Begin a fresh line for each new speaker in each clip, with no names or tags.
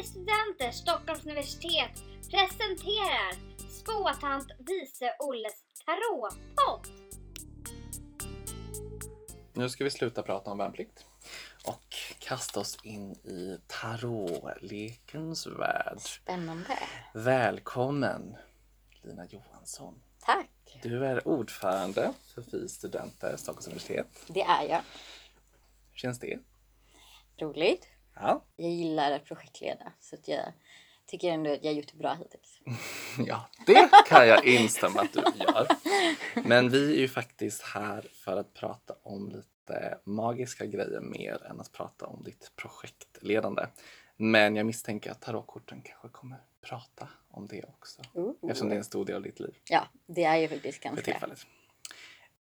Teater, Stockholms universitet presenterar Spåtant Vice Olles Tarotpodd.
Nu ska vi sluta prata om värnplikt och kasta oss in i tarotlekens värld.
Spännande.
Välkommen Lina Johansson.
Tack.
Du är ordförande för FI studenter Stockholms universitet.
Det är jag.
Hur känns det?
Roligt.
Ja,
Jag gillar att projektleda så att jag tycker ändå att jag gjort det bra hittills.
Mm. ja det kan jag instämma att du gör. Men vi är ju faktiskt här för att prata om lite magiska grejer mer än att prata om ditt projektledande. Men jag misstänker att tarotkorten kanske kommer prata om det också.
Ooh.
Eftersom det är en stor del av ditt liv
Ja, det är ju faktiskt
för
ganska...
tillfället.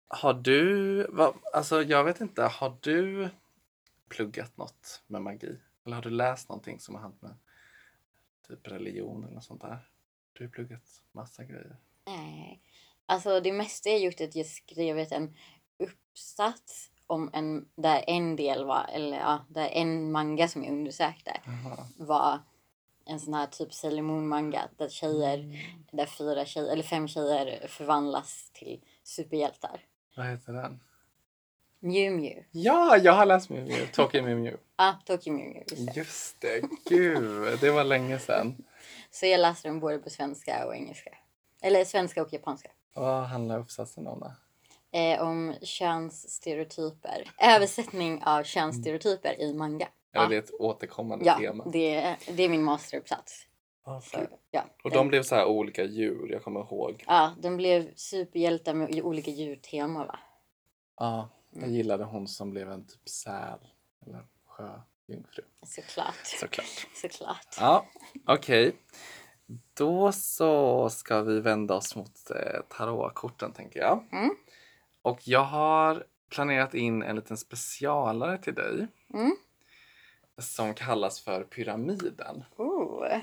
Har du, vad- alltså jag vet inte, har du pluggat något med magi? Eller har du läst någonting som har hänt med typ religion eller något sånt där? Du har pluggat massa grejer.
Nej. Alltså det mesta jag gjort är att jag skrivit en uppsats om en, där en del var, eller ja, där en manga som jag undersökte var en sån här typ Sailor Moon manga där tjejer,
Mm.
där fyra tjejer, eller fem tjejer förvandlas till superhjältar.
Vad heter den?
Mew Mew.
Ja, jag har läst Mew Mew, Talking Mew Mew.
Ja, ah, Tokyo Mew Mew. Just det.
Just det, gud, det var länge sedan.
Så jag läste den både på svenska och engelska. Eller svenska och japanska.
Vad handlar uppsatsen om då?
Eh, om könsstereotyper. Översättning
Mm.
av könsstereotyper i manga.
Eller
Ja.
det är ett återkommande
Ja,
tema?
det, det är min masteruppsats.
Ja,
Så, ja,
Och
den,
de blev så här olika djur, jag kommer ihåg.
ja, den blev superhjältar med i olika djurteman va?
Ja, jag
Mm.
gillade hon som blev en typ säl eller sjöjungfru
Såklart.
såklart.
Såklart.
Ja, okej. Då så ska vi vända oss mot eh, tarotkorten tänker jag.
Mm.
Och jag har planerat in en liten specialare till dig
Mm.
som kallas för pyramiden.
Oh.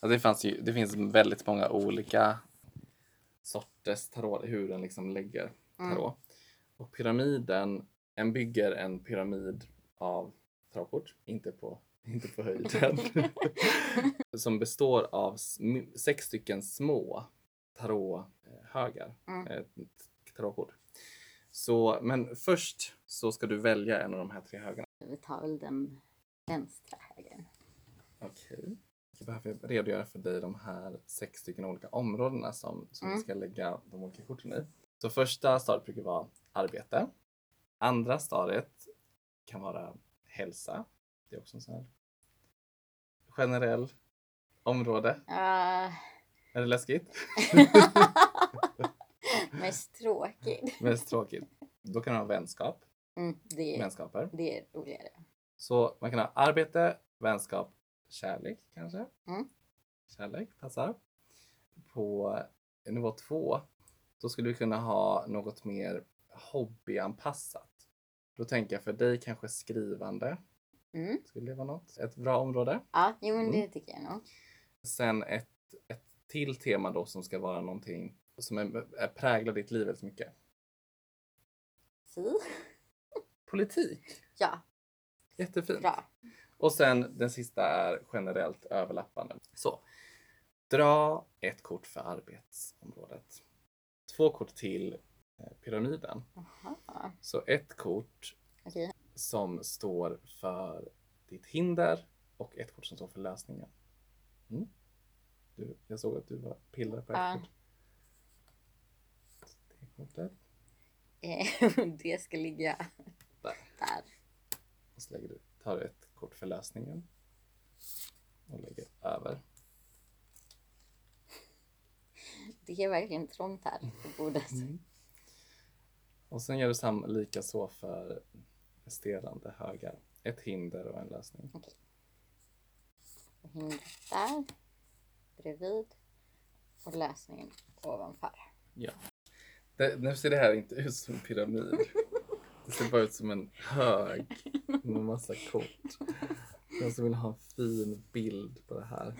Ja, det, fanns ju, det finns väldigt många olika sorters tarot, hur den liksom lägger
Mm.
tarot. Och pyramiden, en bygger en pyramid av tarotkort, inte på, inte på höjden. som består av sm- sex stycken små tarothögar,
Mm.
eh, tarotkort. Så, men först så ska du välja en av de här tre högarna.
Vi tar väl den vänstra högen.
Okej. Jag behöver redogöra för dig de här sex stycken olika områdena som, som
Mm.
vi ska lägga de olika korten i. Så första stadiet brukar vara arbete. Andra stadiet kan vara hälsa. Det är också en sån här generell område.
Ah.
Är det läskigt?
Mest tråkigt.
Mest tråkigt. Då kan man ha vänskap,
Mm, det, är,
vänskaper.
det är roligare.
Så man kan ha arbete, vänskap, kärlek kanske.
Mm.
Kärlek passar. På nivå två, då skulle du kunna ha något mer hobbyanpassat. Då tänker jag för dig kanske skrivande.
Mm.
Skulle det vara något? Ett bra område.
Ja, jo men det
Mm.
tycker jag nog.
Sen ett, ett till tema då som ska vara någonting som är, är präglar ditt liv väldigt mycket.
Fy.
Politik.
Ja,
Jättefint.
bra.
Och sen den sista är generellt överlappande. Så. Dra ett kort för arbetsområdet. Två kort till eh, pyramiden.
Aha.
Så ett kort
Okej.
som står för ditt hinder och ett kort som står för lösningen. Mm. Du, jag såg att du var pillade på ett
Ja.
kort. Det kortet.
Eh, det ska ligga
Där.
där.
Och så lägger du, tar du ett kort för lösningen och lägger över.
Det är verkligen trångt här på bordet.
Och sen gör du sam lika så för resterande högar. Ett hinder och en lösning.
Hindret där. Bredvid. Och lösningen ovanför.
Det, nu ser det här inte ut som en pyramid. Det ser bara ut som en hög med massa kort. Jag som vill ha en fin bild på det här.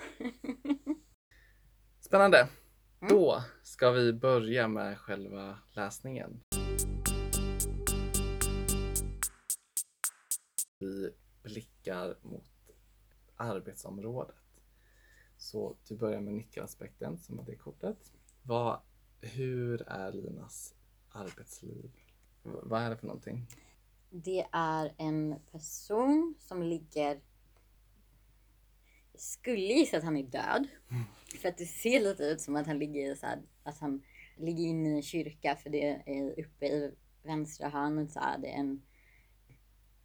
Spännande! Då ska vi börja med själva läsningen. Vi blickar mot arbetsområdet. Så du börjar med nyckelaspekten som var det kortet. Vad, hur är Linas arbetsliv? V- vad är det för någonting?
Det är en person som ligger... Jag skulle gissa att han är död. För att det ser lite ut som att han ligger i så här, att han ligger inne i en kyrka. För det är uppe i vänstra hörnet så är det en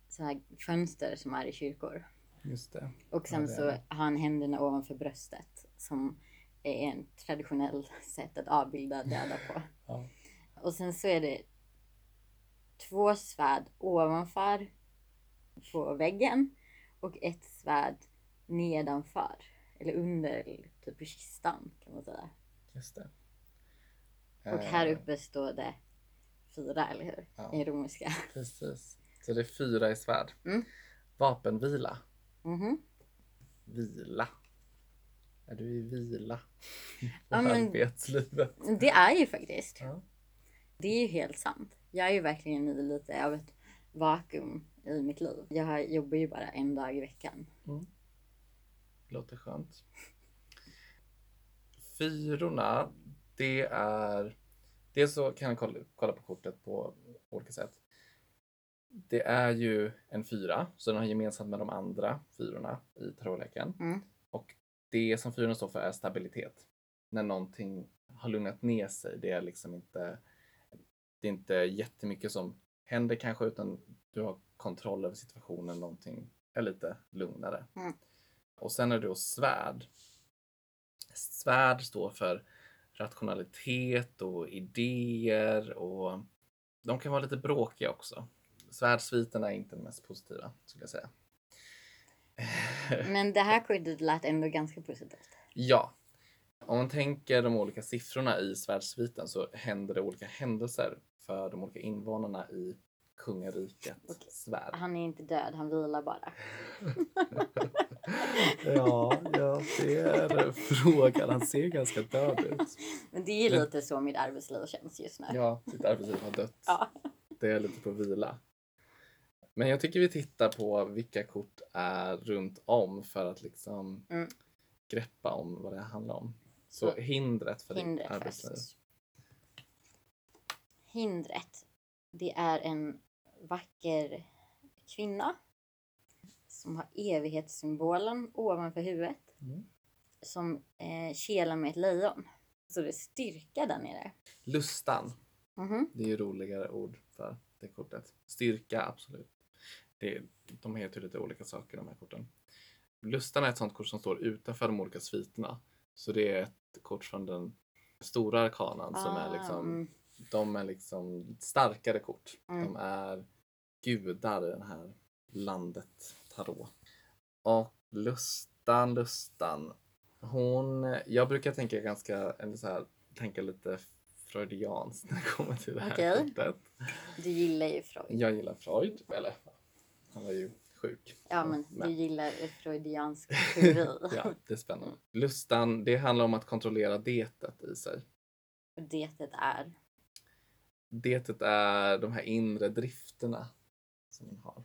så här fönster som är i kyrkor.
Just det.
Och
Ja,
sen
det är
så
det.
har han händerna ovanför bröstet. Som är en traditionell sätt att avbilda döda på.
Ja.
Och sen så är det två svärd ovanför på väggen och ett svärd nedanför. Eller under typ i kistan kan man säga.
Just det.
Och
Eh,
här uppe står det fyra, eller hur?
Ja.
I romerska.
Eh, Precis. Så det är fyra i svärd.
Mm.
Vapenvila.
Mhm.
Vila. Är du i vila?
Ja, men-
Arbetslivet.
Det är ju faktiskt.
Ja.
Det är ju helt sant. Jag är ju verkligen i lite av ett vakuum i mitt liv. Jag har- jobbar ju bara en dag i veckan.
Låter skönt. Fyrorna, det är... Dels så kan jag kolla, kolla på kortet på olika sätt. Det är ju en fyra, så den har gemensamt med de andra fyrorna i tarotleken.
Mm.
Och det som fyrorna står för är stabilitet. När någonting har lugnat ner sig, det är liksom inte... Det är inte jättemycket som händer kanske, utan du har kontroll över situationen, någonting är lite lugnare.
Mm.
Och sen är det då svärd. Svärd står för rationalitet och idéer och de kan vara lite bråkiga också. Svärdsviterna är inte den mest positiva skulle jag säga.
Men det här kortet lät ändå ganska positivt.
Ja. Om man tänker de olika siffrorna i svärdsviten så händer det olika händelser för de olika invånarna i kungariket
Okej.
svärd.
Han är inte död, han vilar bara.
Ja, jag ser frågan. Han ser ganska död ut.
Men det är ju
Men-
lite så mitt arbetsliv känns just nu.
Ja, ditt arbetsliv har dött.
Ja.
Det är lite på vila. Men jag tycker vi tittar på vilka kort är runt om för att liksom
Mm.
greppa om vad det handlar om. Så hindret för ditt
Hindret
arbetsliv.
först. Hindret. Det är en vacker kvinna som har evighetssymbolen ovanför huvudet
Mm.
som eh, kelar med ett lejon. Så det är styrka där nere.
Lustan,
Mhm.
det är ju roligare ord för det kortet. Styrka, absolut. Det, de heter ju lite olika saker de här korten. Lustan är ett sånt kort som står utanför de olika sviterna. Så det är ett kort från den stora arkanan som är liksom
mm.
de är liksom starkare kort.
Mm.
De är gudar i det här landet Tarot. Och Lustan, Lustan. Hon, jag brukar tänka ganska, eller så här, tänka lite freudianskt när det kommer till det här
Okej.
kortet.
Du gillar ju Freud.
Jag gillar Freud, eller han var ju sjuk.
Ja, men
Men-
du gillar freudiansk teori.
ja, det är spännande. Lustan, det handlar om att kontrollera detet i sig.
Och Det är.
Detet är de här inre drifterna som man har.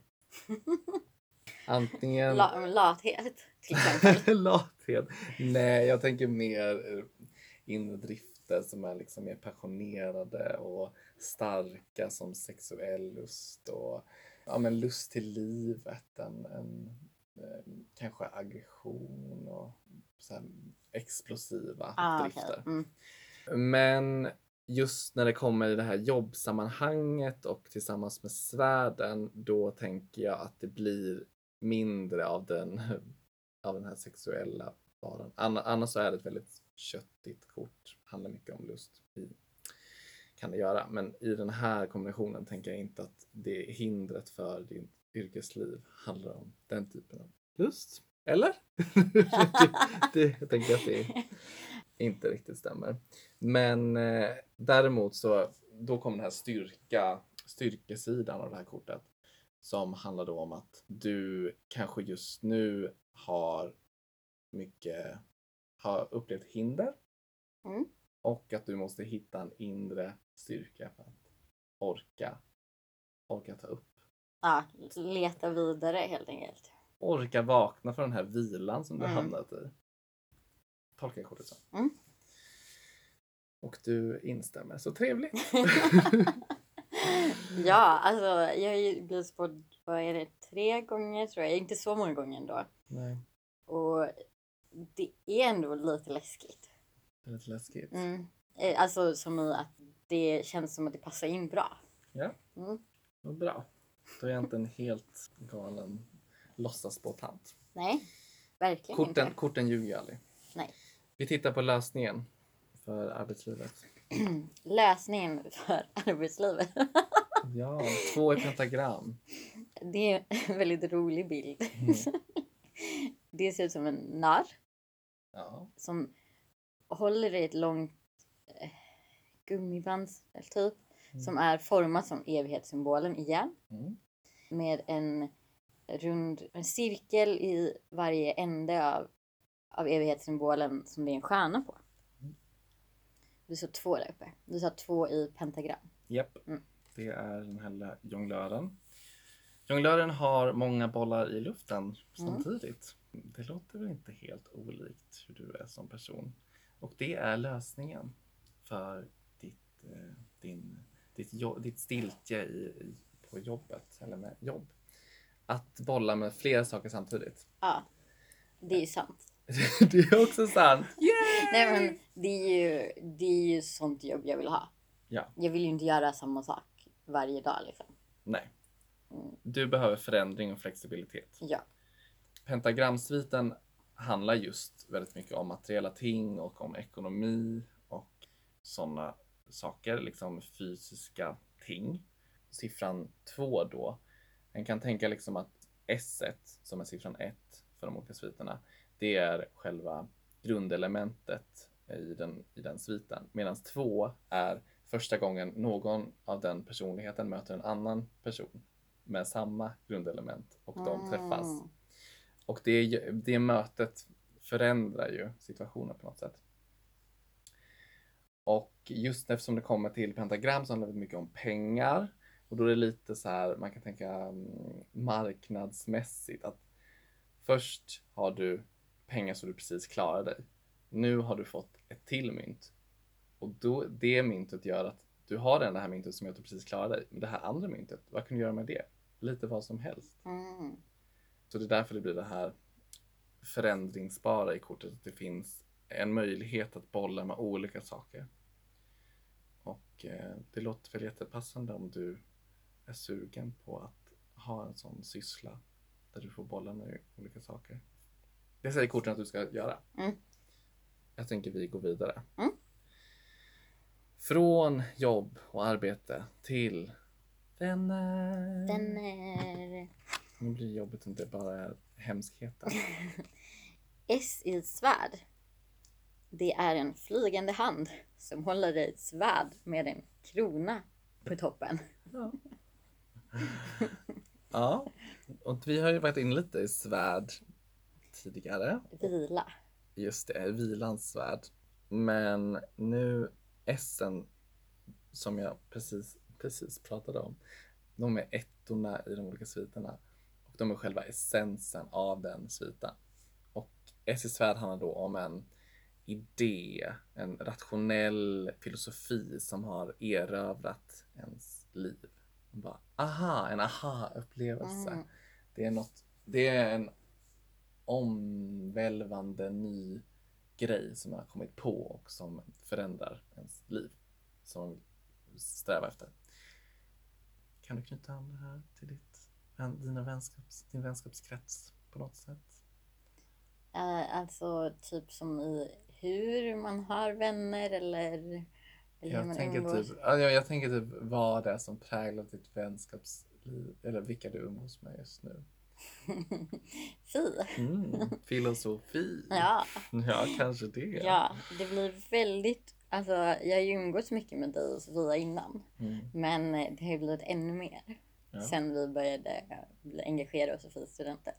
Antingen
La- lathet, till exempel.
lathet. Nej, jag tänker mer eh, inre drifter som är liksom mer passionerade och starka som sexuell lust och ja, men lust till livet. En, en, eh, kanske aggression och så här explosiva
ah,
drifter.
okej. mm.
Men just när det kommer i det här jobbsammanhanget och tillsammans med svärden, då tänker jag att det blir mindre av den, av den här sexuella varan. Anna- Annars så är det ett väldigt köttigt kort. Handlar mycket om lust. I, kan det göra. Men i den här kombinationen tänker jag inte att det är hindret för din yrkesliv handlar om den typen av lust. Eller? det, jag tänker att det inte riktigt stämmer. Men eh, däremot så då kommer den här styrka, styrkesidan av det här kortet som handlar då om att du kanske just nu har mycket, har upplevt hinder
Mm.
och att du måste hitta en inre styrka för att orka, orka ta upp.
Ja, leta vidare helt enkelt.
Orka vakna från den här vilan som du
Mm.
hamnat i. tolkar jag kortet som.
Mm.
Och du instämmer. Så trevligt!
ja, alltså jag har ju blivit spådd, vad är det, tre gånger tror jag. Inte så många gånger ändå.
Nej,
Och det är ändå lite läskigt.
det är lite läskigt.
Mm. Eh, Alltså som i att det känns som att det passar in bra.
Ja.
Mm.
Vad bra. Då är jag inte en helt galen låtsasbåtant.
Nej, verkligen
Korten,
inte.
korten ljuger ju aldrig.
Nej.
Vi tittar på lösningen för arbetslivet.
Lösningen för arbetslivet.
Ja, två i pentagram. Mm.
Det är en väldigt rolig bild. Det ser ut som en narr
Ja.
som håller i ett långt eh, gummiband typ. Som är format som evighetssymbolen igen.
Mm.
Med en rund en cirkel i varje ände av, av evighetssymbolen som det är en stjärna på.
Mm.
Du sa två där uppe. Du sa två i pentagram.
Japp.
Mm.
Det är den här lö- jonglören. Jonglören har många bollar i luften samtidigt. Det låter väl inte helt olikt hur du är som person. Och det är lösningen för ditt, eh, din, ditt, jo- ditt stiltje i, i, på jobbet, eller med jobb. Att bolla med flera saker samtidigt.
Ja, det är ju sant.
det är också sant.
Nej men det är, ju, det är ju sånt jobb jag vill ha.
Ja.
Jag vill ju inte göra samma sak varje dag liksom.
Nej. Du behöver förändring och flexibilitet.
Ja.
pentagramsviten handlar just väldigt mycket om materiella ting och om ekonomi och sådana saker, liksom fysiska ting. Siffran 2 då, en kan tänka liksom att S som är siffran 1 för de olika sviterna, det är själva grundelementet i den, i den sviten. Medan 2 är första gången någon av den personligheten möter en annan person med samma grundelement och de träffas.
Mm.
Och det, är ju- det mötet förändrar ju situationen på något sätt. Och just eftersom det kommer till pentagram så handlar det mycket om pengar. Och då är det lite så här, man kan tänka mm, marknadsmässigt att först har du pengar så du precis klarar dig. Nu har du fått ett till mynt. Och då, det myntet gör att du har den- det här myntet som gör att du precis klarar dig. Men det här andra myntet, vad kan du göra med det? Lite vad som helst.
Mm.
Så det är därför det blir det här förändringsbara i kortet. Att det finns en möjlighet att bolla med olika saker. Och eh, det låter väl jättepassande om du är sugen på att ha en sån syssla där du får bolla med olika saker. Det säger korten att du ska göra.
Mm.
Jag tänker vi går vidare.
Mm.
Från jobb och arbete till vänner.
Den är
Nu blir jobbet inte bara hemskheter.
S i ett svärd. Det är en flygande hand som håller i ett svärd med en krona på toppen.
Ja, och vi har ju varit in lite i svärd tidigare.
Vila.
Just det, vilans svärd. Men nu essen som jag precis, precis pratade om. De är ettorna i de olika sviterna. Och de är själva essensen av den sviten. Och S i svärd handlar då om en idé, en rationell filosofi som har erövrat ens liv. Och Bara, aha, en aha-upplevelse.
Mm.
Det är något, det är en omvälvande ny grej som man har kommit på och som förändrar ens liv. Som man vill sträva efter. Kan du knyta an det här till ditt, vän- dina vänskaps, din vänskapskrets på något sätt?
Eh, Alltså typ som i hur man har vänner eller, eller hur
Jag
man
tänker,
umgås.
typ, ja, jag tänker typ vad det är som präglar ditt vänskapsliv eller vilka du umgås med just nu.
Fy.
Mm, filosofi.
Ja.
ja, kanske det.
Ja, det blir väldigt... Alltså, jag har ju umgåtts mycket med dig och Sofia innan.
Mm,
Men eh, det har ju blivit ännu mer
Ja.
sen vi började eh, bli- engagera oss i Fri studenter.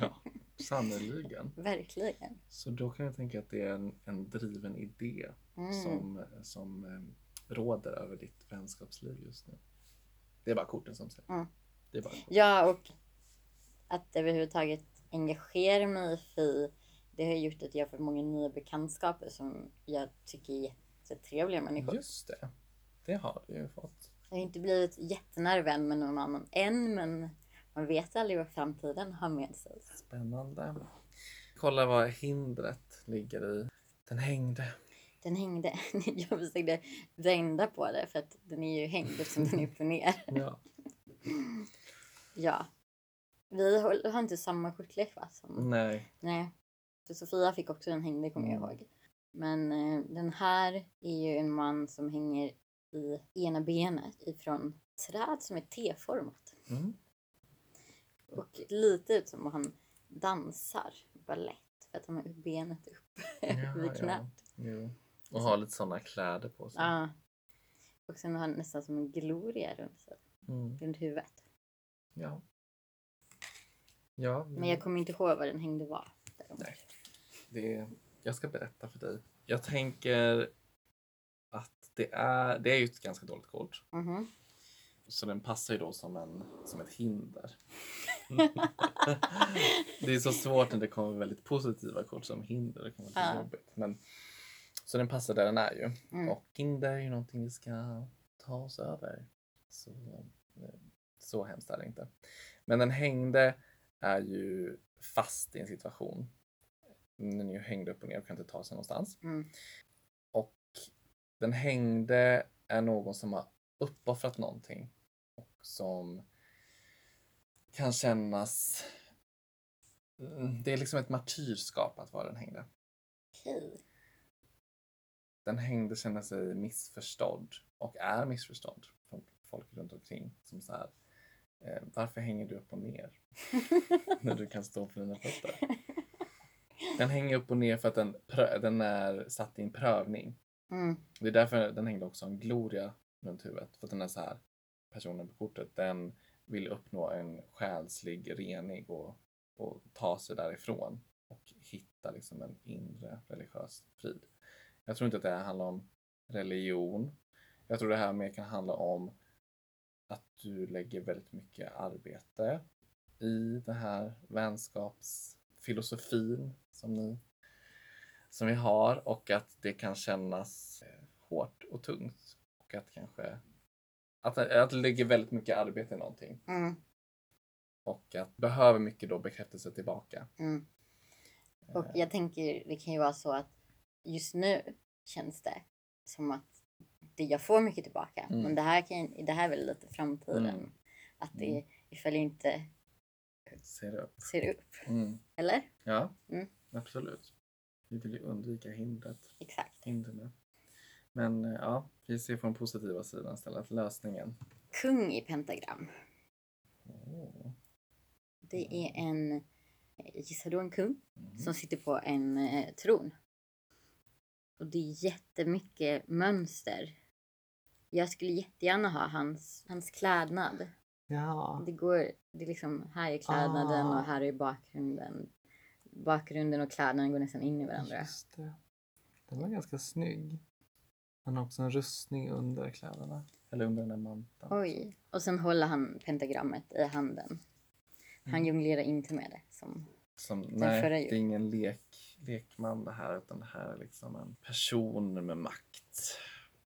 ja. Sannerligen.
Verkligen.
Så då kan jag tänka att det är en, en driven idé
Mm.
som, som eh, råder över ditt vänskapsliv just nu. Det är bara korten som säger.
Mm.
Det är bara
Ja, och att överhuvudtaget engagera mig i Fi Det har gjort att jag har fått många nya bekantskaper som jag tycker är jättetrevliga människor.
Just det. Det har du ju fått.
Jag har inte blivit jättenära vän med någon annan än, men man vet aldrig vad framtiden har med sig.
Spännande. Kolla vad hindret ligger i. Den hängde.
Den hängde. Jag försökte vända på det för att den är ju hängd eftersom den är upp och ner.
Ja.
Ja. Vi har har inte samma skjortlek va? Som...
Nej.
Nej. För Sofia fick också en hängde kommer jag ihåg. Men eh, den här är ju en man som hänger i ena benet ifrån träd som är T-format.
Mm.
Och lite ut som om han dansar ballett för att han har benet upp vid knät.
Ja. Jo. Och har lite sådana kläder på sig.
Ja. Och sen har han nästan som en gloria runt, sig,
Mm.
runt huvudet.
Ja. Ja,
Men jag kommer inte ihåg vad den hängde var. däremot.
Mm. Nej. det, jag ska berätta för dig. Jag tänker att det är, det är ju ett ganska dåligt kort.
Mhm.
Så den passar ju då som, en, som ett hinder. det är så svårt när det kommer väldigt positiva kort som hinder. Det kan vara lite
Ja.
jobbigt. Men, så den passar där den är ju.
Mm.
Och hinder är ju någonting vi ska ta oss över. Så, eh, så hemskt är det inte. Men den hängde är ju fast i en situation. Den är ju hängd upp och ner och kan inte ta sig någonstans.
Mm.
Och den hängde är någon som har uppoffrat någonting och som kan kännas... Mm, Det är liksom ett martyrskap att vara den hängde.
Okej.
Den hängde känner sig missförstådd och är missförstådd från folk runt omkring. Som så här, eh, varför hänger du upp och ner när du kan stå på dina fötter? Den hänger upp och ner för att den, prö- den är satt i en prövning.
Mm.
Det är därför den hängde också en gloria runt huvudet. För att den är så här, personen på kortet, den vill uppnå en själslig rening och, och ta sig därifrån och hitta liksom en inre religiös frid. Jag tror inte att det här handlar om religion. Jag tror det här mer kan handla om att du lägger väldigt mycket arbete i den här vänskapsfilosofin som ni som vi har och att det kan kännas eh, hårt och tungt. Och att kanske att, att det ligger väldigt mycket arbete i någonting
Mm.
och att behöver mycket då bekräftelse tillbaka.
Mm. Och
Eh,
jag tänker, det kan ju vara så att just nu känns det som att det, jag får mycket tillbaka.
Mm.
Men det här, kan, det här är väl lite framtiden.
Mm.
Att det, ifall jag inte
Ser upp.
ser upp.
Mm.
Eller?
Ja,
Mm.
absolut. Vi vill ju undvika hindret,
Exakt.
hindren. Men eh, ja, vi ser från positiva sidan istället, lösningen.
Kung i pentagram.
Åh. Mm.
Det är en, gissar du en kung? som sitter på en eh, tron. Och det är jättemycket mönster. Jag skulle jättegärna ha hans, hans klädnad.
Ja.
Det går, det är liksom, här är klädnaden
Ah.
och här är bakgrunden. Bakgrunden och klädnaden går nästan in i varandra.
Just det. Den var ganska snygg. Han har också en rustning under kläderna. Eller under den där manteln.
Oj. Och sen håller han pentagrammet i handen. Han
Mm.
jonglerar inte med det. Som,
Som, nej,
förra
det
ju.
är ingen lek, lekman det här utan det här är liksom en person med makt.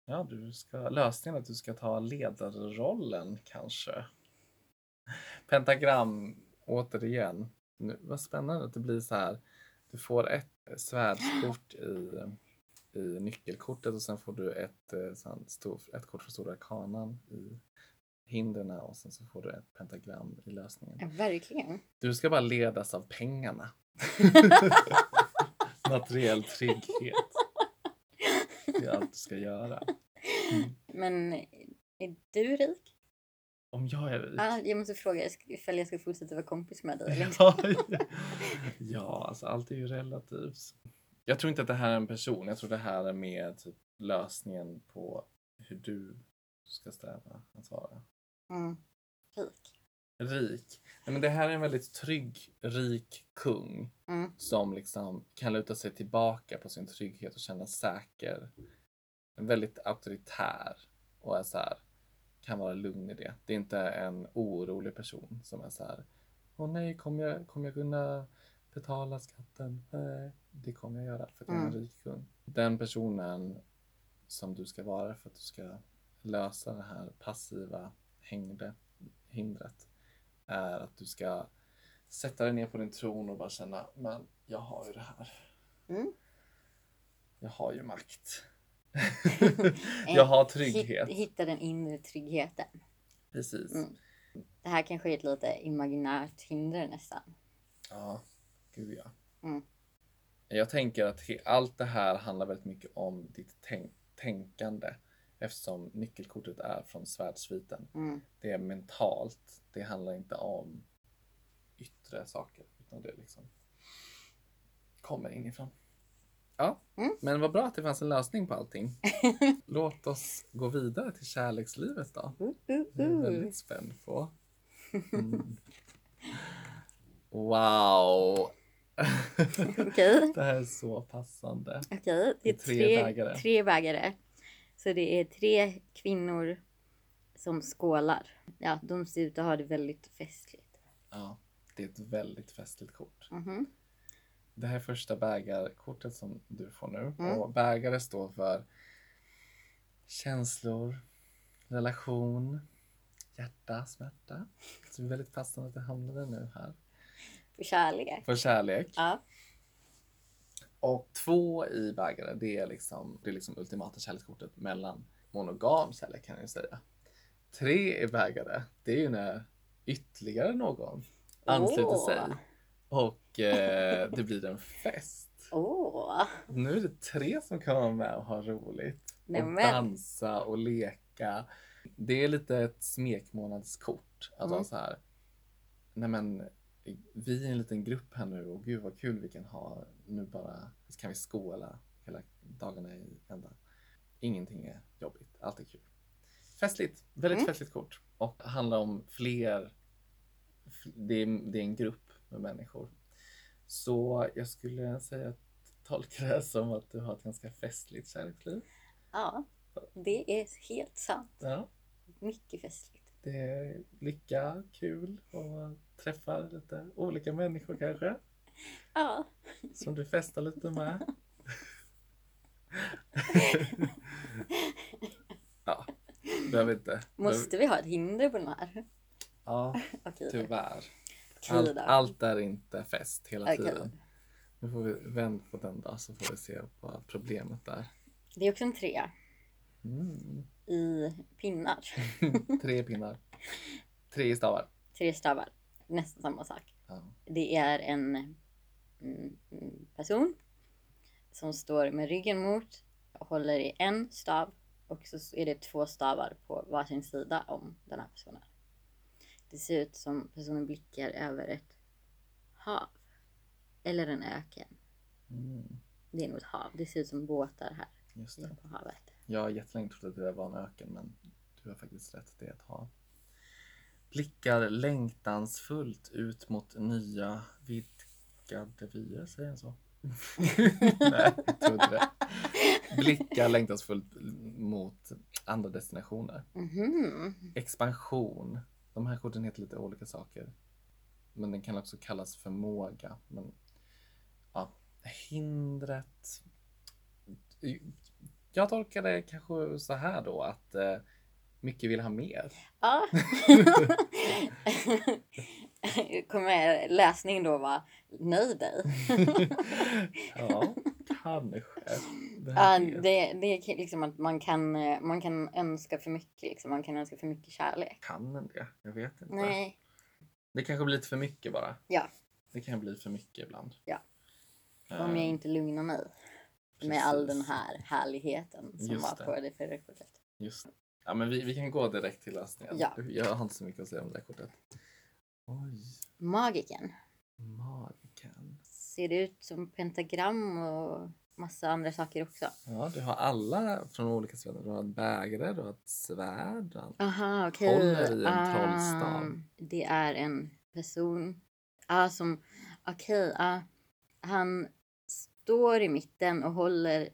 Ja, du ska, lösningen är att du ska ta ledarrollen kanske. Pentagram, återigen. Nu, vad spännande att det blir så här. Du får ett svärdskort i, i nyckelkortet och sen får du ett, eh, så här, stor, ett kort för Stora Arkanan i hindren och sen så får du ett pentagram i lösningen.
ja, verkligen.
Du ska bara ledas av pengarna. Materiell trygghet. Det är allt du ska göra.
Men är du rik?
Om jag är rik.
Ah, jag måste fråga ifall jag ska fortsätta vara kompis med dig. Liksom. eller inte.
Ja, ja, alltså allt är ju relativt. Jag tror inte att det här är en person. Jag tror det här är mer typ lösningen på hur du ska sträva att vara.
Mm. Rik.
Rik. Nej, men det här är en väldigt trygg, rik kung.
Mm.
som liksom kan luta sig tillbaka på sin trygghet och känna säker. Väldigt auktoritär och är så här, kan vara lugn i det. Det är inte en orolig person som är så här, åh nej, kommer jag, kommer jag kunna betala skatten. Nej, det kommer jag göra för att jag är en
Mm.
rik kund. Den personen som du ska vara för att du ska lösa det här passiva hängde, hindret är att du ska sätta dig ner på din tron och bara känna men jag har ju det här.
Mm.
Jag har ju makt. jag har trygghet.
Hitt- Hitta den inre tryggheten.
Precis.
Mm. Det här kanske är ett lite imaginärt hinder nästan.
Ja, gud ja.
Mm.
Jag tänker att he- allt det här handlar väldigt mycket om ditt tänk- tänkande eftersom nyckelkortet är från svärdsviten.
Mm.
Det är mentalt. Det handlar inte om yttre saker utan det liksom kommer inifrån. Ja,
Mm.
men vad bra att det fanns en lösning på allting. Låt oss gå vidare till kärlekslivet då.
Uh, uh,
Jag är
uh.
väldigt spänd på. Mm. Wow!
Okej.
Det här är så passande.
Okej, det är tre, bägare. tre bägare. Så det är tre kvinnor som skålar. Ja, de ser ut att ha det väldigt festligt.
Ja, det är ett väldigt festligt kort.
Mhm.
Det här är första bägarkortet som du får nu.
Mm.
Och bägare står för känslor, relation, hjärta, smärta. Så det är väldigt passande att det hamnade nu här.
För kärlek.
För kärlek.
Ja.
Och två i bägare, det är liksom det är liksom ultimata kärlekskortet mellan monogam kärlek kan jag ju säga. Tre i bägare, det är ju när ytterligare någon ansluter
Åh.
sig och eh, det blir en fest.
Åh,
Nu är det tre som kan vara med och ha roligt och
Nämen.
dansa och leka. Det är lite ett smekmånadskort. Att vara
Mm.
så här, nej men vi är en liten grupp här nu och gud vad kul vi kan ha. Nu bara så kan vi skåla hela dagarna i ända. Ingenting är jobbigt, allt är kul. Festligt, väldigt
Mm.
festligt kort och handlar om fler. f- Det är, det är en grupp med människor. Så jag skulle säga att tolka det här som att du har ett ganska festligt kärleksliv.
ja. Det är helt sant.
Ja.
Mycket festligt.
Det är lycka, kul och träffar lite olika människor kanske
Ja.
som du festar lite med. ja, behöver inte.
Måste vi ha ett hinder på den här?
Ja,
Okej.
tyvärr.
Okej
Allt,
då.
allt är inte fest hela
Okej.
tiden. Nu får vi vända på den då så får vi se vad problemet är.
Det är också en trea
Mm.
i pinnar.
Tre pinnar. Tre stavar.
Tre stavar. Nästan samma sak.
Ja.
Det är en mm, mm, person som står med ryggen mot och håller i en stav och så är det två stavar på varsin sida om den här personen. Det ser ut som personen blickar över ett hav eller en öken.
Mm.
Det är nog ett hav. Det ser ut som båtar här
Just det.
inne på havet.
Jag har jättelänge trott att det där var en öken men du har faktiskt rätt, det är ett hav. Blickar längtansfullt ut mot nya vidgade vyer, säger jag så? Nej, jag tror inte det. Blickar längtansfullt mot andra destinationer.
Mhm.
Expansion. De här korten heter lite olika saker. Men den kan också kallas förmåga. Men, ja, hindret. Jag tolkar det kanske så här då att eh, mycket vill ha mer.
Ja. Kommer lösningen då vara nöj dig?
ja, kanske. Vem
Ja,
vet?
det, det är ki- liksom att man kan, eh, man kan önska för mycket. Liksom. Man kan önska för mycket kärlek.
Kan den det? Jag vet inte.
Nej.
Det kanske blir lite för mycket bara.
Ja.
Det kan bli för mycket ibland.
Ja.
Eh,
Om jag inte lugnar mig med all den
precis.
här härligheten som
Just
var
det.
på det förra kortet.
Just det. Ja, men vi, vi kan gå direkt till lösningen.
Ja.
Jag har inte så mycket att säga om det här kortet. Oj,
Magiken.
magiken.
Ser det ut som pentagram och massa andra saker också?
Ja, du har alla från olika svärd. Du har ett bägare, du har ett svärd. du har-
Aha, okej.
Håller i en
Ah,
trollstav.
Det är en person ah, som... Okej, ah, han står i mitten och håller...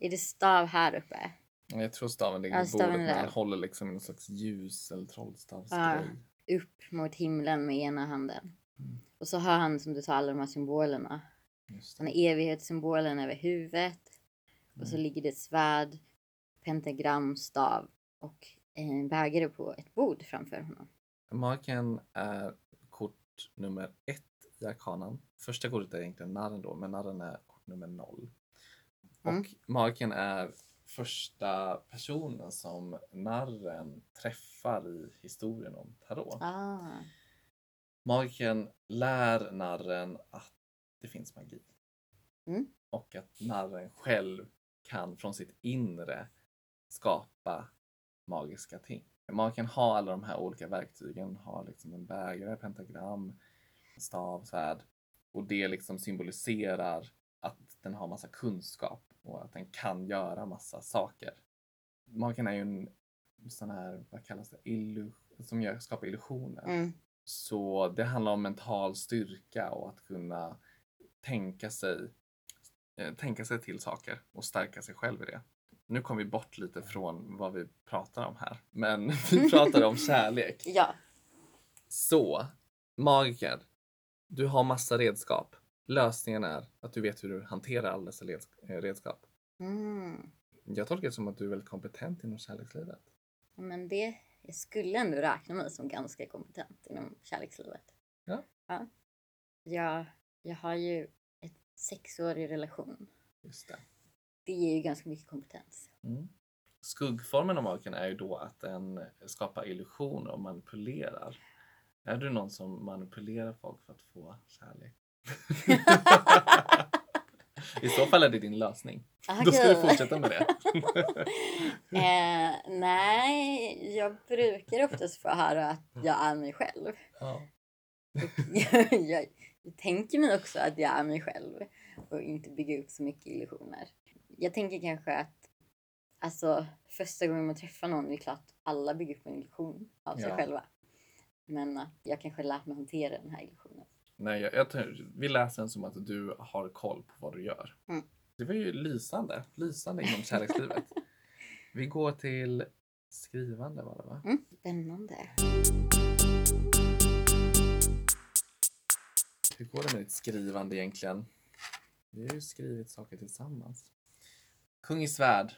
Är det stav här uppe?
Jag tror staven ligger
Ja,
på bordet,
staven
men
är där.
den håller liksom i någon slags ljus eller trollstavsgrej.
Ja. upp mot himlen med ena handen.
Mm.
Och så har han som du sa alla de här symbolerna.
Just
Han har evighetssymbolen över huvudet. Och så
Mm.
ligger det ett svärd, pentagramstav och en bägare på ett bord framför honom.
Magen är kort nummer ett i arkanan. Första kortet är egentligen narren då, men narren är kort nummer noll.
Mm.
Och magen är första personen som narren träffar i historien om tarot.
Ah.
Magen lär narren att det finns magi.
Mm.
Och att narren själv kan från sitt inre skapa magiska ting. Magen har alla de här olika verktygen, har liksom en bägare, pentagram, stav, svärd. Och det liksom symboliserar att den har massa kunskap och att den kan göra massa saker. Magen är ju en sån här, vad kallas det, illu- som gör, skapar illusioner.
Mm.
Så det handlar om mental styrka och att kunna tänka sig, eh, tänka sig till saker och stärka sig själv i det. Nu kom vi bort lite från vad vi pratar om här, men vi pratar om kärlek.
Ja.
Så, magiker, du har massa redskap. Lösningen är att du vet hur du hanterar alla dessa leds- eh, redskap.
Mm.
Jag tolkar det som att du är väldigt kompetent inom kärlekslivet.
Men det, jag skulle ändå räkna mig som ganska kompetent inom kärlekslivet.
Ja.
ja. Jag, jag har ju ett sexårig relation.
Just det.
Det ger ju ganska mycket kompetens.
Mm. Skuggformen av magen är ju då att den skapar illusioner och manipulerar. Är du någon som manipulerar folk för att få kärlek? I så fall är det din lösning. Då ska
Okej.
du fortsätta med det.
eh, nej, jag brukar oftast få höra att jag är mig själv.
Ja.
jag, jag, jag tänker mig också att jag är mig själv och inte bygger upp så mycket illusioner. Jag tänker kanske att alltså, första gången man träffar någon, det är klart alla bygger upp en illusion av sig
Ja.
själva. Men att jag kanske har lärt mig hantera den här illusionen.
Nej, jag, jag, tror- vi läser den som att du har koll på vad du gör.
Mm.
Det var ju lysande. Lysande inom kärlekslivet. Vi går till skrivande var det va?
Mm. Spännande.
Hur går det med ditt skrivande egentligen? Vi har ju skrivit saker tillsammans. Kung i svärd.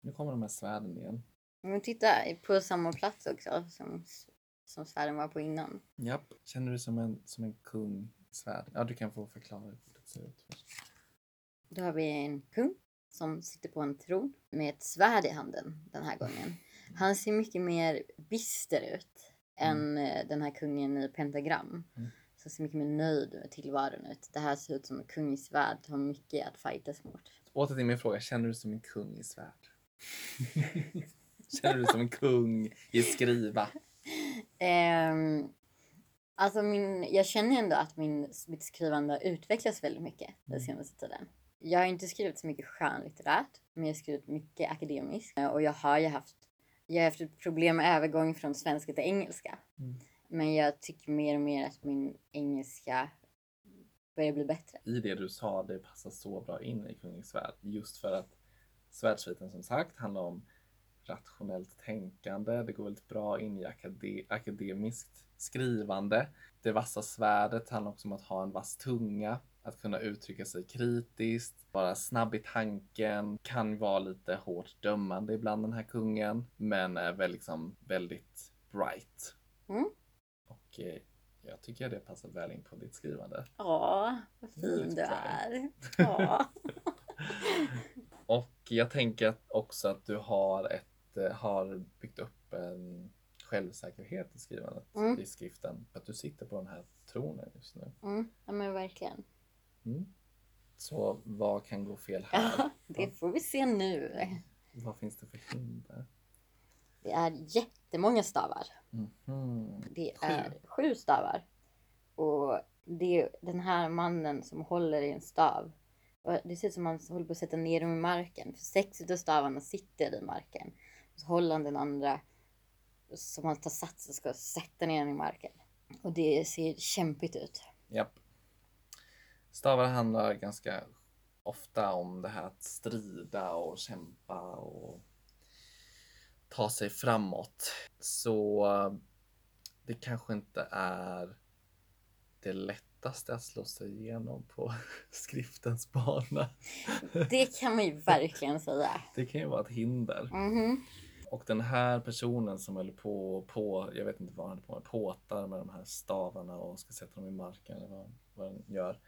Nu kommer de här svärden igen.
Men titta, på samma plats också som, som svärden var på innan.
Japp. Känner du dig som en, som en kung i svärd? Ja, du kan få förklara hur det ser ut först.
Då har vi en kung som sitter på en tron med ett svärd i handen den här gången. Han ser mycket mer bister ut än eh, den här kungen i pentagram.
Mm.
Som ser mycket mer nöjd med tillvaron ut. Det här ser ut som en kung i svärd. Har mycket att fightas mot.
Åter till min fråga. Känner du dig som en kung i svärd? Känner du dig som en kung i skriva?
Ehm, alltså min, jag känner ändå att min, mitt skrivande har utvecklats väldigt mycket den
Mm.
senaste tiden. Jag har inte skrivit så mycket skönlitterärt, men jag har skrivit mycket akademiskt. Eh, Och jag har ju haft, jag har haft ett problem med övergång från svenska till engelska.
Mm.
Men jag tycker mer och mer att min engelska börjar bli bättre.
I det du sa, det passar så bra in i kung i svärd. Just för att svärdsviten som sagt handlar om rationellt tänkande. Det går väldigt bra in i akade- akademiskt skrivande. Det vassa svärdet handlar också om att ha en vass tunga, att kunna uttrycka sig kritiskt, vara snabb i tanken, kan vara lite hårt dömande ibland den här kungen, men är väl liksom väldigt bright.
Mm.
Och eh, jag tycker det passar väl in på ditt skrivande.
Ja, vad fin
Väldigt
du
bra.
är. Ja.
Och jag tänker att också att du har, ett, eh, har byggt upp en självsäkerhet i skrivandet,
Mm.
i skriften. För att du sitter på den här tronen just nu.
Mm, ja men verkligen.
Mm. Så vad kan gå fel här?
Ja, det får vi se nu.
vad finns det för hinder?
Det är jättemånga stavar.
Mhm.
Det
Sju.
är sju stavar. Och det är den här mannen som håller i en stav. Och det ser ut som att han håller på att sätta ner dem i marken. För sex utav stavarna sitter i marken. Och så håller han den andra som han tar sats och ska sätta ner den i marken. Och det ser kämpigt ut.
Japp. Stavar handlar ganska ofta om det här att strida och kämpa och ta sig framåt. Så det kanske inte är det lättaste lättaste att slå sig igenom på skriftens bana.
Det kan man ju verkligen säga.
Det kan ju vara ett hinder.
Mhm.
Och den här personen som höll på på, jag vet inte vad han höll på med, påtar med de här stavarna och ska sätta dem i marken eller vad, vad den gör.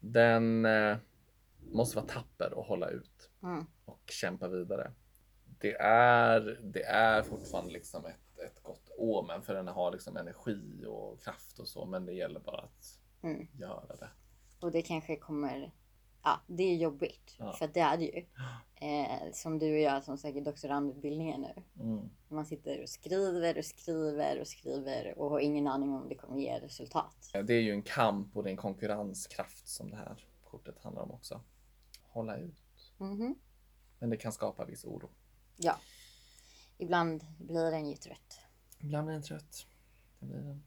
Den eh, måste vara tapper och hålla ut
Mm.
och kämpa vidare. Det är, det är fortfarande liksom ett, ett gott omen för den har liksom energi och kraft och så men det gäller bara att
Mm.
göra det.
Och det kanske kommer... Ja, det är jobbigt.
Ja.
För det är det ju. Eh, som du och jag som söker doktorandutbildningen nu.
Mm.
Man sitter och skriver och skriver och skriver och har ingen aning om det kommer ge resultat.
Det är ju en kamp och det är en konkurrenskraft som det här kortet handlar om också. Hålla ut.
Mhm.
Men det kan skapa viss oro.
Ja. Ibland blir den ju trött.
Ibland blir den trött. Det blir den.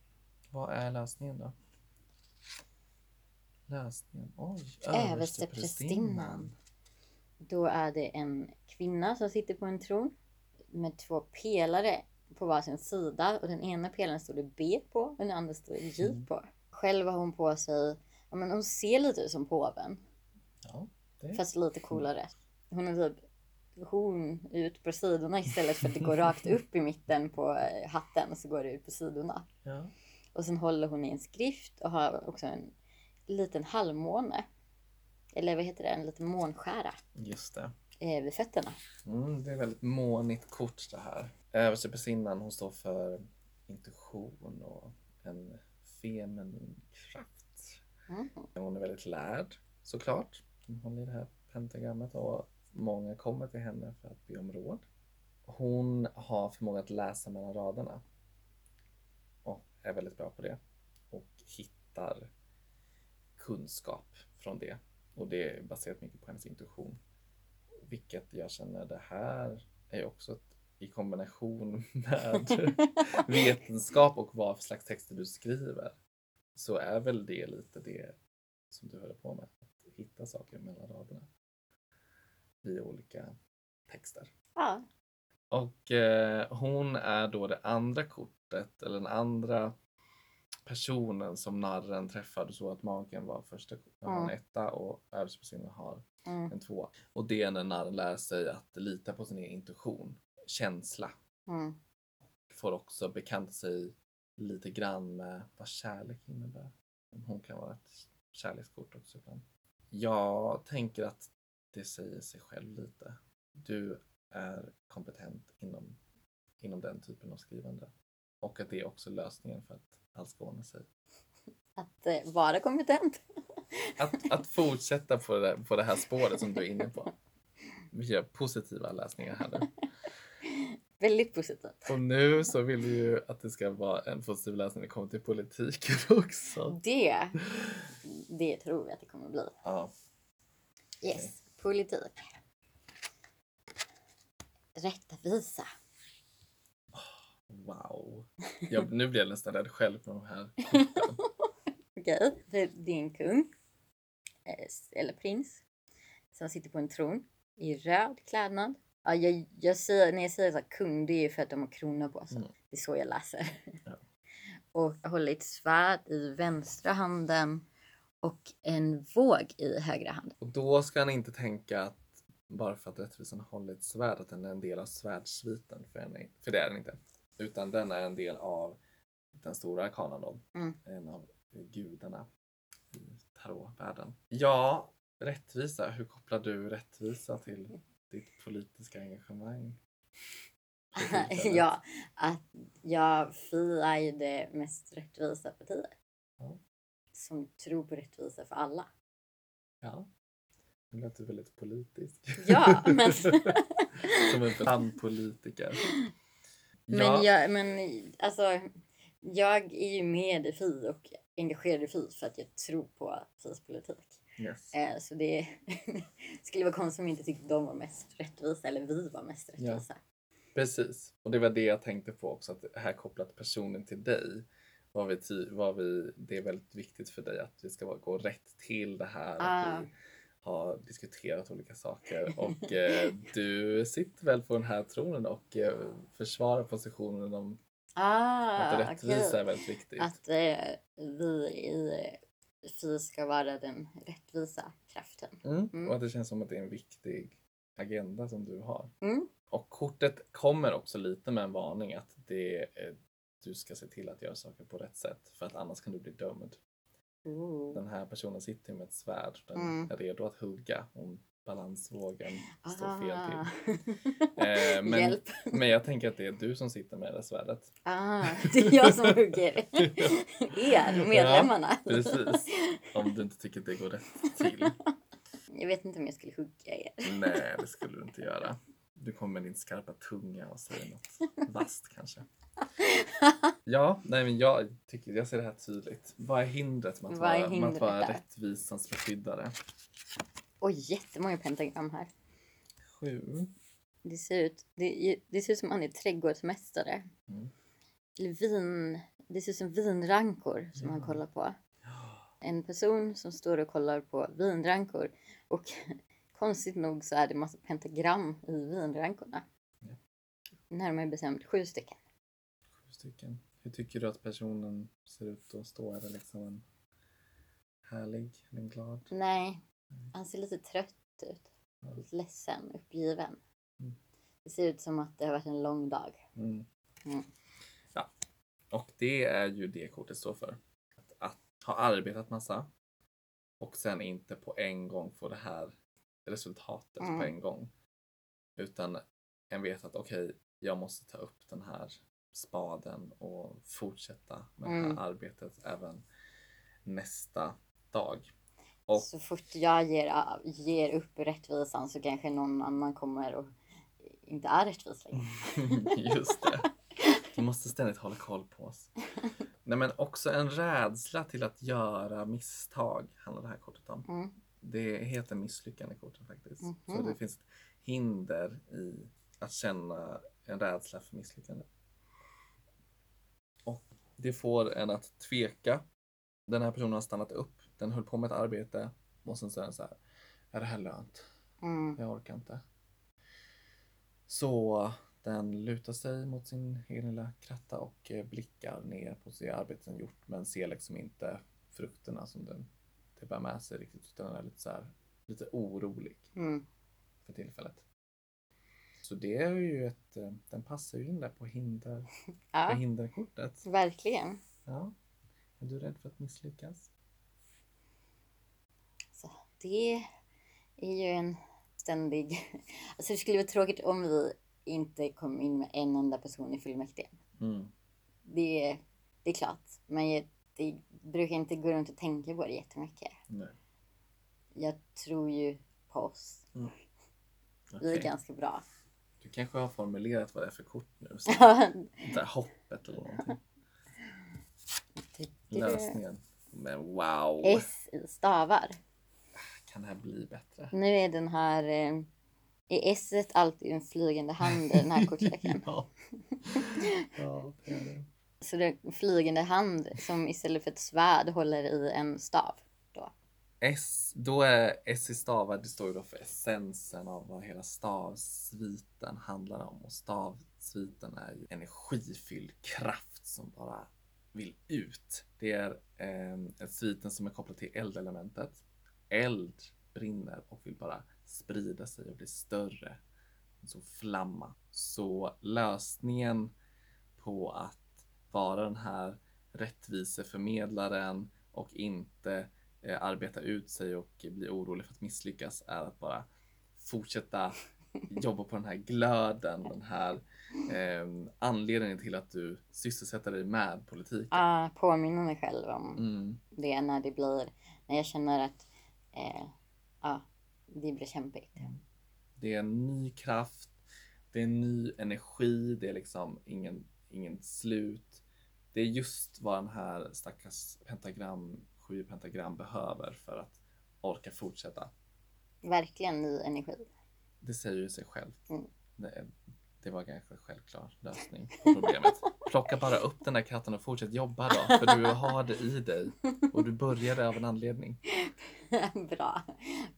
Vad är lösningen då? Lösningen? Oj!
Översteprästinnan. Då är det en kvinna som sitter på en tron med två pelare på varsin sida och den ena pelaren står det B på och den andra står det J
Mm.
på. Själv har hon på sig, ja men hon ser lite ut som påven
Ja, det är
fast lite coolare. Hon är typ horn ut på sidorna istället för att det går rakt upp i mitten på eh, hatten så går det ut på sidorna.
ja.
Och sen håller hon i en skrift och har också en liten halvmåne. Eller vad heter det? En liten månskära
Just det.
eh, vid fötterna.
Mm, det är väldigt månigt kort det här. Översteprästinnan, hon står för intuition och en feminin kraft.
Mm.
Hon är väldigt lärd såklart. Hon håller i det här pentagrammet och många kommer till henne för att be om råd. Hon har förmåga att läsa mellan raderna och är väldigt bra på det och hittar kunskap från det och det är baserat mycket på hennes intuition. Vilket jag känner det här är ju också ett, i kombination med vetenskap och vad för slags texter du skriver så är väl det lite det som du håller på med. Att hitta saker mellan raderna i olika texter.
Ja.
Och eh, hon är då det andra kortet eller den andra personen som narren träffade så att magen var första har en
Mm.
etta och översteprästinnan har
Mm.
en tvåa. Och det är när narren lär sig att lita på sin egen intuition, känsla
Mm.
får också bekanta sig lite grann med vad kärlek innebär. Hon kan vara ett kärlekskort också ibland. Jag tänker att det säger sig själv lite. Du är kompetent inom, inom den typen av skrivande. Och att det är också lösningen för att allskåna sig.
Att eh, vara kompetent.
Att, att fortsätta på det, på det här spåret som du är inne på. Vi gör positiva läsningar här nu.
Väldigt positivt.
Och nu så vill du ju att det ska vara en positiv läsning när det kommer till politiken också.
Det, det tror vi att det kommer bli.
Ja,
Yes. Politik. Rättvisa.
Wow. Jag, nu blir jag nästan rädd själv med de här.
Okej, det det är en kung. eh, Eller prins. Som sitter på en tron. I röd klädnad. Ja, jag, jag säger, när jag säger så här, kung, det är ju för att de har krona på sig.
Mm.
Det är så jag läser.
Ja.
Och håller ett svärd i vänstra handen. Och en våg i högra hand.
Och då ska han inte tänka att bara för att rättvisan håller ett svärd att den är en del av svärdssviten. För, den är- för det är den inte. Utan den är en del av den stora arkanan då.
Mm.
En av gudarna i tarotvärlden. Ja, rättvisa. Hur kopplar du rättvisa till ditt politiska engagemang?
ja, att jag Fi är ju det mest rättvisa partiet.
Ja.
Som tror på rättvisa för alla.
Ja. Nu lät du väldigt politisk.
Ja, men,
Som en tandpolitiker.
men, jag, men alltså, jag är ju med i Fi och engagerad i Fi för att jag tror på Fis politik.
Yes.
Eh, så det skulle vara konstigt om jag inte tyckte de var mest rättvisa eller vi var mest rättvisa.
Precis. Och det var det jag tänkte på också, att här kopplat personen till dig. Vad vi, ty- vad vi, det är väldigt viktigt för dig att vi ska vara- gå rätt till det här.
Ah.
Att vi har diskuterat olika saker och eh, du sitter väl på den här tronen och eh, försvarar positionen om
Ah,
att rättvisa
okej.
är väldigt viktigt.
Att eh, vi i Fi ska vara den rättvisa kraften.
Mm.
Mm.
Och att det känns som att det är en viktig agenda som du har.
Mm.
Och kortet kommer också lite med en varning att det, eh, du ska se till att göra saker på rätt sätt för att annars kan du bli dömd.
Ooh.
Den här personen sitter ju med ett svärd. Den
Mm.
är redo att hugga om balansvågen står fel till.
Ah.
Eh, men,
Hjälp.
men jag tänker att det är du som sitter med det där svärdet.
Ah, det är jag som hugger. Er, medlemmarna.
Precis. Om du inte tycker att det går rätt till.
Jag vet inte om jag skulle hugga er.
Nej, det skulle du inte göra. Du kommer med din skarpa tunga och säger något vasst kanske. Ja, nej men jag, tycker, jag ser det här tydligt. Vad är hindret med att,
Vad är
vara, med att
hindret
vara
där?
rättvisans beskyddare?
Oj, jättemånga pentagram här.
Sju.
Det ser ut, det, det ser ut som han är trädgårdsmästare.
Mm.
Eller vin, det ser ut som vinrankor som han
Ja.
kollar på. En person som står och kollar på vinrankor. Och konstigt nog så är det massa pentagram i vinrankorna.
Ja.
Närmare bestämt sju stycken.
Sju stycken. Hur tycker du att personen ser ut att stå? Är det liksom en härlig, är den glad?
Nej,
Mm.
han ser lite trött ut. Lite ledsen, uppgiven.
Mm.
Det ser ut som att det har varit en lång dag.
Mm.
Mm.
Ja. Och det är ju det kortet står för. Att, att ha arbetat massa och sen inte på en gång få det här resultatet
Mm.
på en gång. Utan en vet att okej, jag måste ta upp den här spaden och fortsätta med det
Mm.
här arbetet även nästa dag. Och
Så fort jag ger, av- ger upp rättvisan så kanske någon annan kommer och inte är rättvis längre.
Just det. Du måste ständigt hålla koll på oss. Nej, men också en rädsla till att göra misstag handlar det här kortet om.
Mm.
Det heter misslyckande kortet faktiskt. Så
Mhm.
det finns ett hinder i att känna en rädsla för misslyckande. Och det får en att tveka. Den här personen har stannat upp. Den höll på med ett arbete och sen så är den så här. Är det här lönt?
Mm.
Jag orkar inte. Så den lutar sig mot sin egen lilla kratta och eh, blickar ner på det arbete den gjort men ser liksom inte frukterna som den det bär med sig riktigt utan den är lite, så här, lite orolig
Mm.
för tillfället. Så det är ju ett, eh, den passar ju in där på, hinder, på
Ja,
hinderkortet.
verkligen.
Ja. Är du rädd för att misslyckas?
Så det är ju en ständig... Alltså det skulle vara tråkigt om vi inte kom in med en enda person i fullmäktige.
Mm.
Det, det är klart, men jag, det brukar inte gå runt och tänka på det jättemycket.
Nej.
Jag tror ju på oss. Vi är
Okej.
ganska bra.
Du kanske har formulerat vad det är för kort nu? Så det här hoppet eller någonting. lösningen. Men wow,
S i stavar.
kan det här bli bättre?
Nu är den här... Eh, är S alltid en flygande hand i den här kortleken?
ja. ja, det är det.
Så det är en flygande hand som istället för ett svärd håller i en stav. Då.
S, då är S i stavar, det står ju då för essensen av vad hela stavsviten handlar om. Och stavsviten är ju energifylld kraft som bara vill ut. Det är eh, en sviten som är kopplad till eldelementet. Eld brinner och vill bara sprida sig och bli större. Så flamma. Så lösningen på att vara den här rättviseförmedlaren och inte eh, arbeta ut sig och bli orolig för att misslyckas är att bara fortsätta jobba på den här glöden, den här eh, anledningen till att du sysselsätter dig med politik.
Ah, påminner mig själv om
Mm,
det när det blir... När jag känner att eh, ah, det blir kämpigt.
Mm. det är en ny kraft, det är en ny energi, det är liksom ingen, ingen slut. Det är just vad den här stackars pentagram, sju pentagram behöver för att orka fortsätta.
Verkligen ny energi.
Det säger ju sig själv.
Mm.
Det, det var kanske en självklar lösning på problemet. Plocka bara upp den där katten och fortsätt jobba då, för du har det i dig och du började av en anledning.
Bra.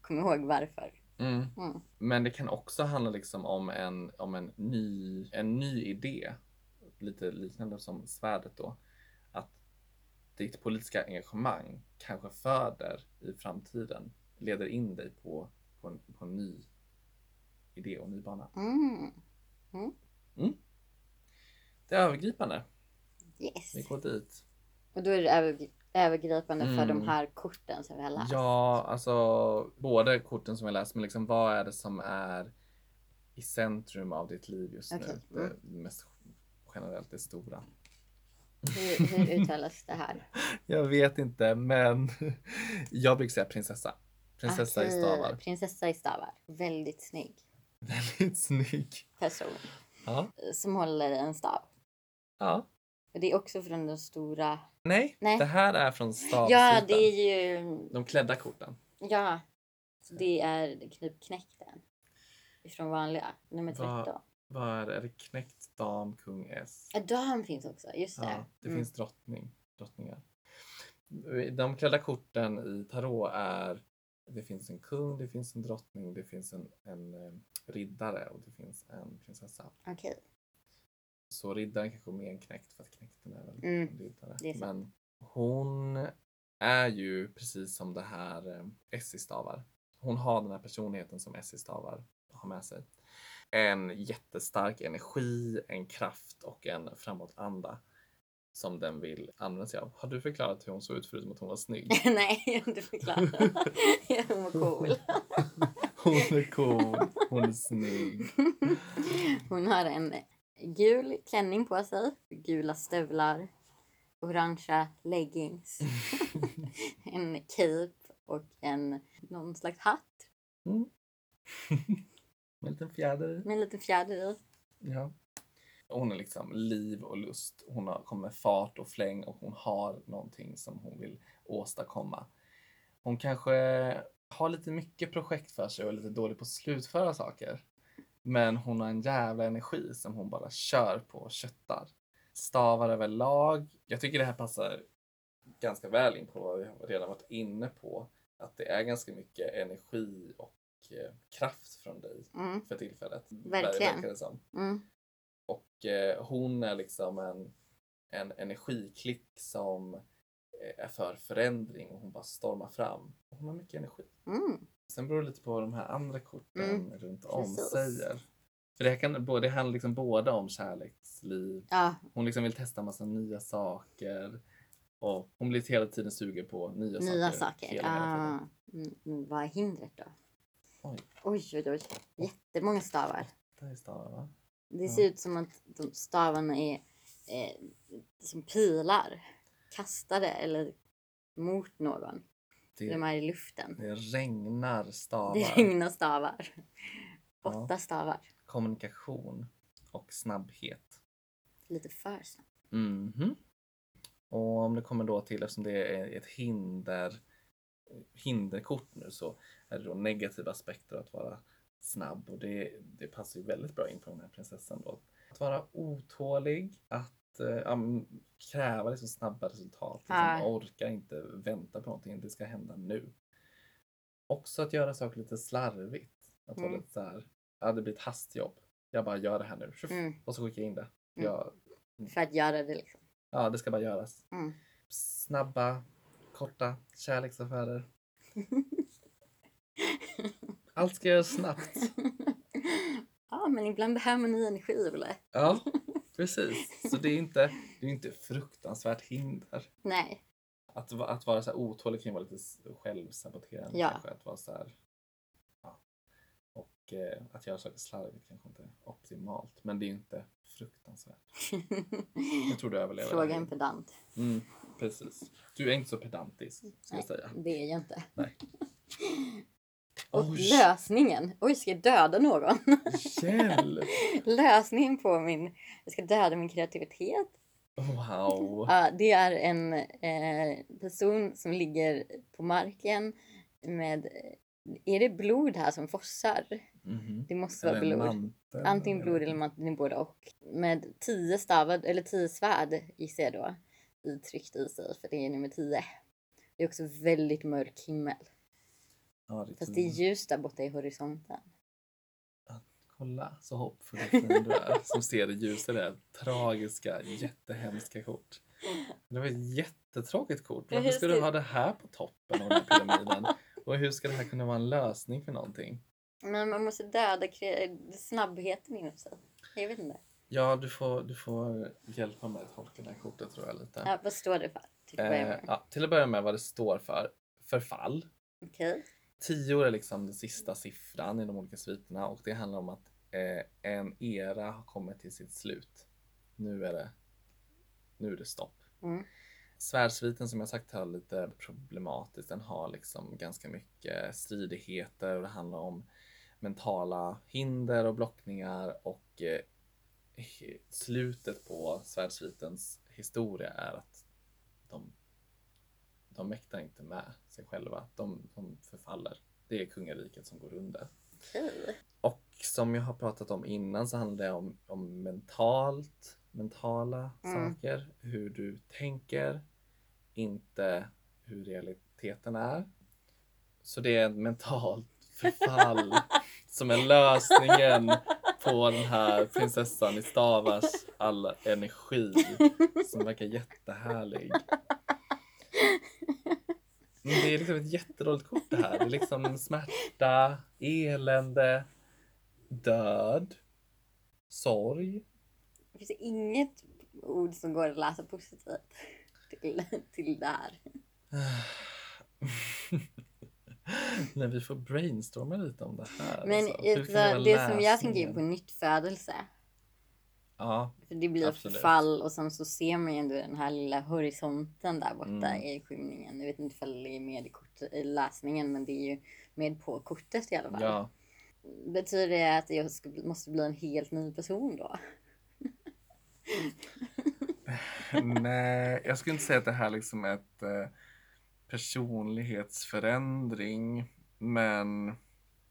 Kom ihåg varför.
Mm.
Mm.
Men det kan också handla liksom om en, om en, ny, en ny idé lite liknande som svärdet då. Att ditt politiska engagemang kanske föder i framtiden, leder in dig på, på, en, på en ny idé och ny bana.
Mm.
Det är övergripande.
Yes.
Vi går dit.
Och då är det övergri- övergripande för
Mm.
de här korten som vi har läst.
Ja, alltså både korten som jag läst, men liksom vad är det som är i centrum av ditt liv just
Okej, mm.
nu? Det mest generellt det stora.
Hur, hur uttalas det här?
Jag vet inte, men jag brukar säga prinsessa. Prinsessa i
Okej,
stavar.
Prinsessa i stavar. Väldigt snygg
Väldigt snygg.
person eh,
Ja.
som håller en stav.
ja.
Och det är också från de stora...
Nej,
Nej.
det här är från
Ja,
stavsidan.
det är ju...
De klädda korten.
Ja, det är knipknäckten. Från vanliga, nummer 13.
Vad- Vad är det? Är det knäckt, dam, kung, s?
Ja, dam finns också, just det.
Ja, det
Mm.
finns drottning, drottningar. De klädda korten i tarot är det finns en kung, det finns en drottning, det finns en, en eh, riddare och det finns en prinsessa.
Mm, Okej.
Så riddaren kanske är mer en knäckt för att knäkten är väl
Mm,
en riddare.
det är sant.
Men hon är ju precis som det här eh, Essie stavar. Hon har den här personligheten som Essie stavar har med sig. En jättestark energi, en kraft och en framåtanda som den vill använda sig av. Har du förklarat hur hon såg ut förutom att hon var snygg?
Nej, jag är inte förklarad. Hon var cool.
Hon är cool, hon är snygg.
Hon har en gul klänning på sig, gula stövlar, orangea leggings, en cape och en någon slags hatt
Med en liten fjäder i.
med en liten fjäder i.
Ja. Hon är liksom liv och lust. Hon har, kommer med fart och fläng och hon har någonting som hon vill åstadkomma. Hon kanske har lite mycket projekt för sig och är lite dålig på att slutföra saker. Men hon har en jävla energi som hon bara kör på och köttar. Stavar överlag. Jag tycker det här passar ganska väl in på vad vi har redan varit inne på. Att det är ganska mycket energi och eh, kraft från dig
Mm,
för tillfället.
Verkligen.
Verkar det som.
mm,
Och eh, hon är liksom en, en energiklick som eh, är för förändring och hon bara stormar fram. Och Hon har mycket energi.
mm.
Sen beror det lite på vad de här andra korten
Mm,
runt om
precis.
säger. För det, här kan, bo- det handlar liksom både om kärleksliv,
Ja,
hon liksom vill testa massa nya saker och hon blir hela tiden sugen på nya,
nya
saker.
saker.
Hela, hela tiden.
Ah, mm, mm, vad är hindret då?
Oj.
Oj, oj, oj. Jättemånga stavar.
Där är stavar va?
Det ser ut som att de stavarna är eh, som pilar kastade eller mot någon. De
Det,
är i luften.
det regnar stavar.
Det regnar stavar.
Ja.
Åtta stavar.
Kommunikation och snabbhet.
Lite för snabbt.
Mhm. Och om det kommer då till, eftersom det är ett hinder, hinderkort nu, så är det då negativa aspekter att vara snabb och det, det passar ju väldigt bra in på den här prinsessan då. Att vara otålig, att eh, ja, men kräva liksom snabba resultat, liksom,
Ja.
orkar inte vänta på någonting, det ska hända nu. Också att göra saker lite slarvigt, att vara
Mm.
lite så här, ja det blir ett hastjobb, jag bara gör det här nu, tjoff,
Mm.
och så skickar jag in det.
Mm.
Jag,
För att göra det liksom.
Ja, det ska bara göras.
Mm.
Snabba, korta kärleksaffärer. Allt ska göras snabbt.
ja, men ibland behöver man ny energi, Olle.
Ja, precis. Så det är inte, det är inte fruktansvärt hinder.
Nej.
Att, va- att vara så här otålig kan ju vara lite s- självsaboterande.
Ja.
Kanske, att vara så här, ja. Och eh, att göra saker slarvigt kanske inte är optimalt. Men det är ju inte fruktansvärt. Jag tror du överlever. det här.
Fråga en pedant.
Mm, precis. Du är inte så pedantisk, ska jag säga.
Det är jag inte. Och
Oj,
lösningen. Oj, ska jag döda någon?
hjälp!
Lösningen på min... Jag ska döda min kreativitet.
Wow.
Ja, det är en eh, person som ligger på marken med... Är det blod här som fossar?
Mhm.
Det måste
Eller
vara
en
blod.
mantel.
Antingen blod eller manteln, både och. Med tio stavar, eller tio svärd gissar jag då, i- tryckt i sig, för det är nummer tio. Det är också väldigt mörk himmel.
Ja, det är Mm.
Fast det är
tydligt.
ljust där borta i horisonten.
Kolla så hoppfull och fin du är som ser det ljusa i det här tragiska, jättehemska kort. Det var ett jättetråkigt kort.
Men
Varför
hur
ska
ska-
du ha det här på toppen av den här pyramiden? Och hur ska det här kunna vara en lösning för någonting?
Men man måste döda kre- snabbheten inom sig. Jag vet inte.
Ja, du får, du får hjälpa mig att tolka det här kortet tror jag lite.
Ja, vad står det för? Till att börja
eh,
med.
ja, till att börja med vad det står för. Förfall.
Okej.
Tio är liksom den sista siffran i de olika sviterna och det handlar om att eh, en era har kommit till sitt slut. Nu är det, nu är det stopp.
Mm.
Svärdsviten som jag sagt har lite problematiskt. Den har liksom ganska mycket stridigheter och det handlar om mentala hinder och blockningar och eh, he- slutet på svärdsvitens historia är att de, de mäktar inte med sig själva. De, de förfaller. Det är kungariket som går under.
Okej.
Och som jag har pratat om innan så handlar det om, om mentalt, mentala
Mm.
saker, hur du tänker, inte hur realiteten är. Så det är ett mentalt förfall som är lösningen på den här prinsessan i Stavars all energi som verkar jättehärlig. Men det är liksom ett jätteroligt kort det här. Det är liksom smärta, elände, död, sorg.
Finns det inget ord som går att läsa positivt till, till det här?
När vi får brainstorma lite om det här.
Men
alltså. Hur
alltså,
kan vara
det som jag tänker
lösningen?
på är nyttfödelse.
Ja,
För det blir
Absolut.
förfall och sen så ser man ju ändå den här lilla horisonten där borta
Mm.
i skymningen. Jag vet inte ifall det är med i, kort, i läsningen men det är ju med på kortet i alla fall.
ja.
Betyder det att jag ska, måste bli en helt ny person då?
Nej, jag skulle inte säga att det här liksom är ett eh, personlighetsförändring. Men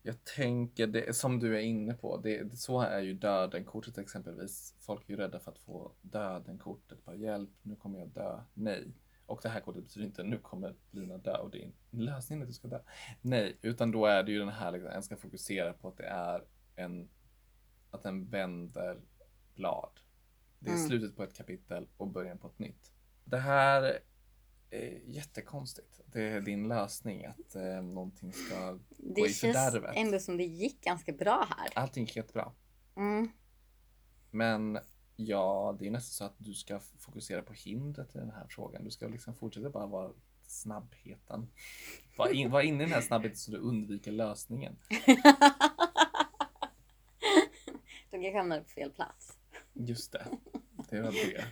jag tänker, det, som du är inne på, det, det, så är ju döden-kortet exempelvis. Folk är ju rädda för att få döden-kortet. Bara hjälp, nu kommer jag dö. Nej. Och det här kortet betyder inte nu kommer Lina dö och det är lösningen är att du ska dö. Nej, utan då är det ju den här, liksom, en ska fokusera på att det är en, att den vänder blad. Det är
Mm.
slutet på ett kapitel och början på ett nytt. Det här är jättekonstigt. Det är din lösning att eh, någonting ska
Det
Gå i
känns
fördärvet.
ändå som det gick ganska bra här.
Allting gick jättebra.
Mm.
Men ja, det är nästan så att du ska f- fokusera på hindret i den här frågan. Du ska liksom fortsätta bara vara snabbheten. Var, in, var inne i den här snabbheten så du undviker lösningen.
De kanske hamnade på fel plats.
Just det. Det var det.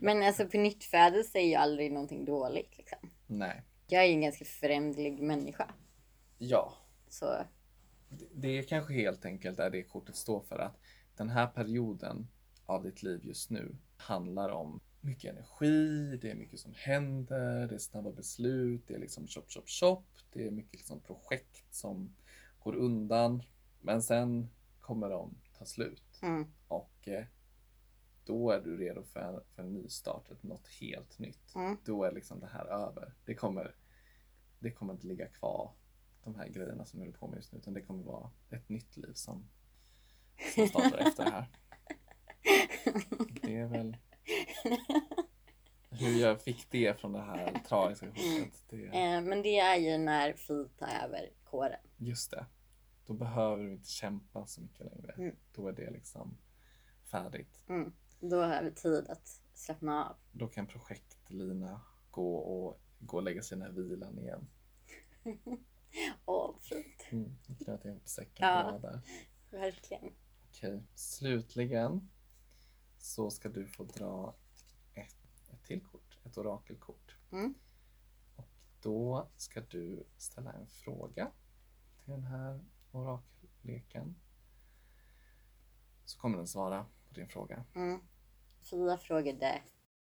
Men alltså på nyttfödelse är ju aldrig någonting dåligt liksom.
Nej.
Jag är ju en ganska föränderlig människa.
Ja,
Så
det- det är kanske helt enkelt är det kortet står för att den här perioden av ditt liv just nu handlar om mycket energi, det är mycket som händer, det är snabba beslut, det är liksom chop, chop, chop. Det är mycket liksom projekt som går undan. Men sen kommer de ta slut
mm,
och eh, då är du redo för en, för en ny start, ett- något helt nytt.
Mm.
Då är liksom det här över. Det kommer, det kommer inte ligga kvar de här grejerna som du håller på med just nu utan det kommer vara ett nytt liv som, som startar efter det här. Det är väl hur jag fick det från det här tragiska kortet. Det,
eh, men det är ju när Fi tar över kåren.
just det. Då behöver du inte kämpa så mycket längre.
Mm.
Då är det liksom färdigt.
Mm. Då har vi tid att slappna av.
Då kan projektlina gå och gå och lägga sig i den här vilan igen.
Åh, vad fint.
Mm. nu Knöt ihop säcken
Ja.
bra där.
Verkligen.
Okej, slutligen så ska du få dra ett, ett till kort, ett orakelkort.
Mm.
Och då ska du ställa en fråga till den här orakelleken. Så kommer den svara på din fråga.
Mm. Fia frågade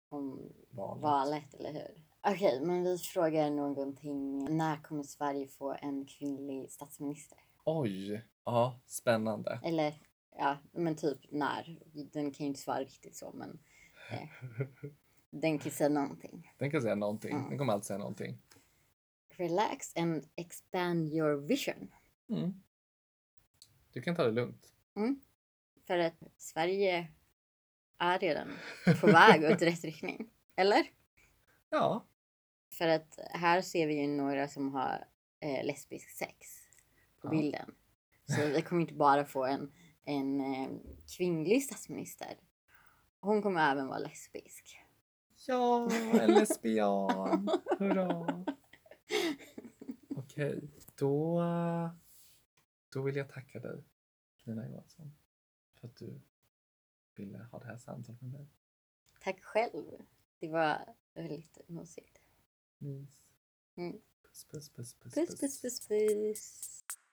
om
Valet.
valet, eller hur? Okej, men vi frågar någonting. När kommer Sverige få en kvinnlig statsminister?
Oj! Ja, spännande.
Eller ja, men typ när. Den kan ju inte svara riktigt så, men eh, den kan säga någonting.
Den kan säga någonting.
Mm.
Den kommer alltid säga någonting.
Relax and expand your vision.
Mm. Du kan ta det lugnt.
För att Sverige är redan på väg åt rätt riktning. Eller?
Ja.
För att här ser vi ju några som har eh, lesbisk sex på
Ja.
bilden. Så vi kommer inte bara få en, en eh, kvinnlig statsminister. Hon kommer även vara lesbisk.
Ja, en lesbian. Hurra. Okej, då, då vill jag tacka dig, Lina Johansson, för att du ville ha det här samtalet med mig.
Tack själv. Det var väldigt mysigt.
Mys.
Mm.
Puss, puss, puss, puss,
Puss, puss, puss, puss.